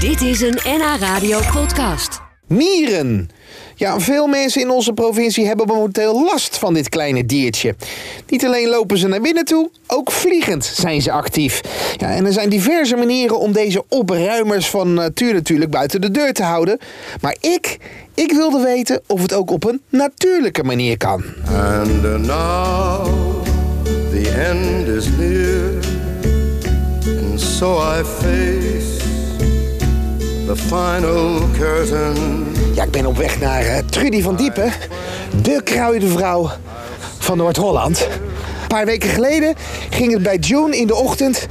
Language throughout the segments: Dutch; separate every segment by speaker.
Speaker 1: Dit is een NH Radio podcast.
Speaker 2: Mieren. Ja, veel mensen in onze provincie hebben momenteel last van dit kleine diertje. Niet alleen lopen ze naar binnen toe, ook vliegend zijn ze actief. Ja, en er zijn diverse manieren om deze opruimers van natuur natuurlijk buiten de deur te houden. Maar ik, ik wilde weten of het ook op een natuurlijke manier kan.
Speaker 3: And uh, now the end is near, and so I face the final curtain.
Speaker 2: Ja, ik ben op weg naar eh, Trudy van Diepen, de kruidenvrouw van Noord-Holland. Een paar weken geleden ging het bij June in de ochtend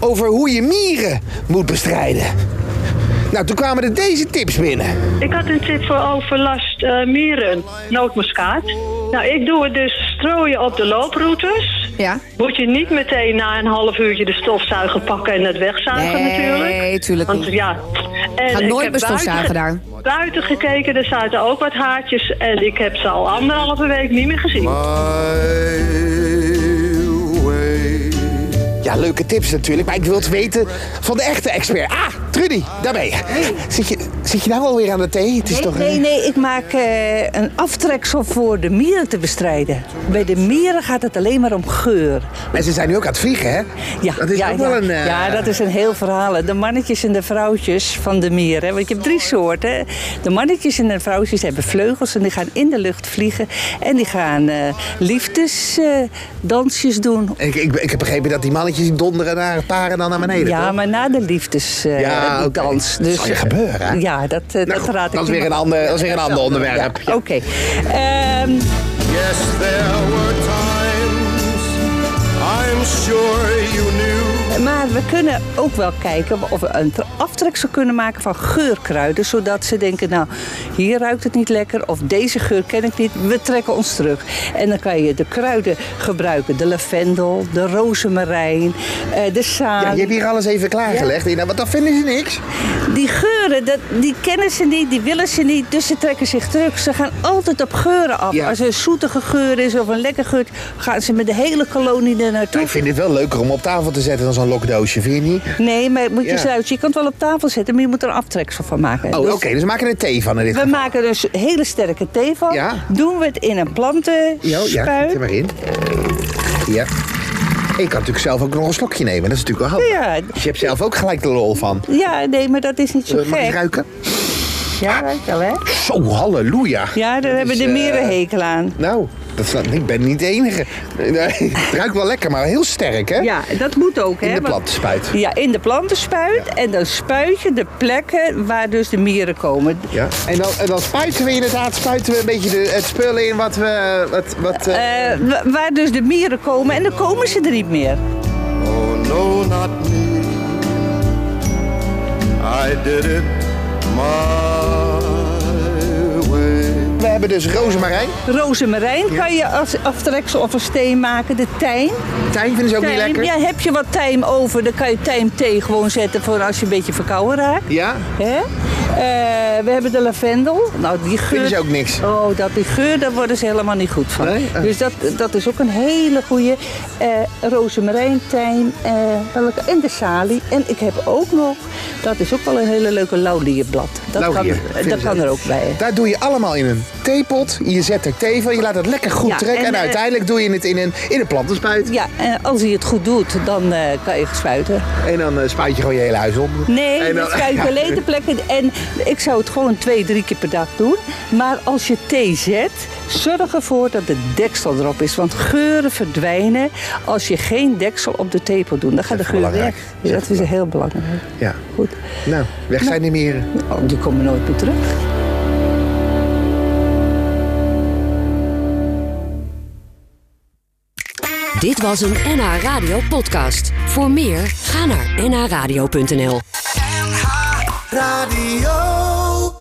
Speaker 2: over hoe je mieren moet bestrijden. Nou, toen kwamen er deze tips binnen.
Speaker 4: Ik had een tip voor overlast eh, mieren, nootmuskaat. Nou, ik doe het dus strooien op de looproutes.
Speaker 5: Ja.
Speaker 4: Moet je niet meteen na een half uurtje de stofzuiger pakken en het wegzuigen
Speaker 5: Nee,
Speaker 4: natuurlijk.
Speaker 5: tuurlijk
Speaker 4: Want,
Speaker 5: niet.
Speaker 4: ja. En
Speaker 5: Ga
Speaker 4: ik
Speaker 5: nooit
Speaker 4: heb
Speaker 5: meer stofzuigen
Speaker 4: buiten-
Speaker 5: daar.
Speaker 4: Buiten gekeken, er zaten ook wat haartjes. En ik heb ze al anderhalve week niet meer gezien.
Speaker 3: My way.
Speaker 2: Ja, leuke tips natuurlijk, maar ik wil het weten van de echte expert. Ah, Trudy, daar ben je. Zit je, zit je nou alweer aan de thee? Het is
Speaker 6: Nee,
Speaker 2: toch...
Speaker 6: nee, nee, ik maak eh, een aftreksel voor de mieren te bestrijden. Bij de mieren gaat het alleen maar om geur.
Speaker 2: Maar ze zijn nu ook aan het vliegen, hè? dat is
Speaker 6: ja,
Speaker 2: ook
Speaker 6: ja.
Speaker 2: wel een... eh,
Speaker 6: ja, dat is een heel verhaal. hè. De mannetjes en de vrouwtjes van de mieren. Want je hebt drie soorten. hè. De mannetjes en de vrouwtjes hebben vleugels en die gaan in de lucht vliegen. En die gaan eh, liefdesdansjes doen.
Speaker 2: Ik, ik, ik heb begrepen dat die mannetjes die donderen naar het paren dan naar beneden.
Speaker 6: Ja,
Speaker 2: toch?
Speaker 6: maar na de liefdesdans.
Speaker 2: Ja, oké.
Speaker 6: dans. Dus
Speaker 2: Dat zal je gebeuren, hè?
Speaker 6: Ja, dat, eh,
Speaker 2: Nou
Speaker 6: dat
Speaker 2: goed,
Speaker 6: raad ik
Speaker 2: dat is weer
Speaker 6: niemand.
Speaker 2: een ander- dat is weer een ander onderwerp.
Speaker 6: Ja, Oké. Ehm,
Speaker 3: Yes, there were times I'm sure you knew.
Speaker 6: Maar we kunnen ook wel kijken of we een tra- aftreksel kunnen maken van geurkruiden. Zodat ze denken, nou, hier ruikt het niet lekker. Of deze geur ken ik niet. We trekken ons terug. En dan kan je de kruiden gebruiken. De lavendel, de rozemarijn, eh, de
Speaker 2: Ja, je
Speaker 6: salie.
Speaker 2: hebt hier alles even klaargelegd, Ina, want dan vinden ze niks.
Speaker 6: Die geuren, dat, die kennen ze niet, die willen ze niet. Dus ze trekken zich terug. Ze gaan altijd op geuren af.
Speaker 2: Ja.
Speaker 6: Als er een zoetige geur is of een lekker geur... gaan ze met de hele kolonie er naartoe.
Speaker 2: Ik vind het wel leuker om op tafel te zetten dan zo'n lokdoosje, vind je niet?
Speaker 6: Nee, maar moet je
Speaker 2: Ja.
Speaker 6: eens luisteren. Je kan het wel op tafel zetten, maar je moet er een aftreksel van maken.
Speaker 2: Oh,
Speaker 6: Dus
Speaker 2: oké, dus we maken er thee van in dit
Speaker 6: We
Speaker 2: geval.
Speaker 6: maken dus hele sterke thee van.
Speaker 2: Ja.
Speaker 6: Doen we het in een
Speaker 2: Ja,
Speaker 6: plantenspuit.
Speaker 2: ja, zet er maar in. Ja. Ik kan natuurlijk zelf ook nog een slokje nemen, dat is natuurlijk wel handig.
Speaker 6: Ja.
Speaker 2: Dus je hebt zelf ook gelijk de lol van.
Speaker 6: Ja, nee, maar dat is niet zo
Speaker 2: Eh, Mag ik
Speaker 6: gek.
Speaker 2: ruiken?
Speaker 6: Ja, ruikt wel, hè?
Speaker 2: Zo, halleluja.
Speaker 6: Ja, daar
Speaker 2: Dat
Speaker 6: hebben
Speaker 2: is,
Speaker 6: de
Speaker 2: eh,
Speaker 6: mieren hekel aan.
Speaker 2: Nou, dat is, ik ben niet de enige. Nee, Het ruikt wel lekker, maar heel sterk, hè?
Speaker 6: Ja, dat moet ook, hè?
Speaker 2: In de
Speaker 6: want-
Speaker 2: plantenspuit.
Speaker 6: Ja, in de plantenspuit. En dan spuit je de plekken waar dus de mieren komen.
Speaker 2: Ja. En, dan, en dan spuiten we inderdaad spuiten we een beetje de, het spul in wat we... Wat, wat, eh,
Speaker 6: Eh, wa- waar dus de mieren komen en dan komen ze er niet meer.
Speaker 3: Oh, no, not me. I did it my way.
Speaker 2: We hebben dus rozemarijn.
Speaker 6: Rozemarijn kan je als aftreksel of een steen maken. De tijn.
Speaker 2: Tijn vinden ze ook niet
Speaker 6: Tijm,
Speaker 2: lekker.
Speaker 6: Ja, heb je wat tijm over, dan kan je tijmthee gewoon zetten voor als je een beetje verkouden raakt.
Speaker 2: Ja?
Speaker 6: Hè? Eh, we hebben de lavendel. Nou, die geur...
Speaker 2: Vinden ze ook niks.
Speaker 6: Oh, dat, die geur, daar worden ze helemaal niet goed van.
Speaker 2: Nee? Eh.
Speaker 6: Dus dat, dat is ook een hele goede. eh rozemarijn, tijm eh, welke- en de salie. En ik heb ook nog, dat is ook wel een hele leuke laulierblad. Dat
Speaker 2: Laurier,
Speaker 6: kan,
Speaker 2: vinden
Speaker 6: dat
Speaker 2: ze
Speaker 6: kan er ook bij.
Speaker 2: Daar doe je allemaal in een theepot. Je zet er thee van, je laat het lekker goed
Speaker 6: Ja,
Speaker 2: trekken. En,
Speaker 6: en, eh,
Speaker 2: uiteindelijk doe je het in een, in een plantenspuit.
Speaker 6: Ja, en als hij het goed doet, dan eh, kan je spuiten.
Speaker 2: En dan eh, spuit je gewoon je hele huis om.
Speaker 6: Nee,
Speaker 2: En
Speaker 6: dat
Speaker 2: dan-
Speaker 6: schuift alleen de plekken. En ik zou het gewoon twee, drie keer per dag doen. Maar als je thee zet, zorg ervoor dat de deksel erop is. Want geuren verdwijnen als je geen deksel op de tepel doet. Dan gaat de
Speaker 2: echt
Speaker 6: geur
Speaker 2: belangrijk.
Speaker 6: weg.
Speaker 2: Dat is
Speaker 6: Dus
Speaker 2: echt
Speaker 6: dat is heel belangrijk.
Speaker 2: Ja.
Speaker 6: Goed.
Speaker 2: Nou, weg zijn de mieren.
Speaker 6: Oh, die komen nooit meer terug.
Speaker 1: Dit was een NH Radio podcast. Voor meer, ga naar nhradio.nl.
Speaker 3: Radio.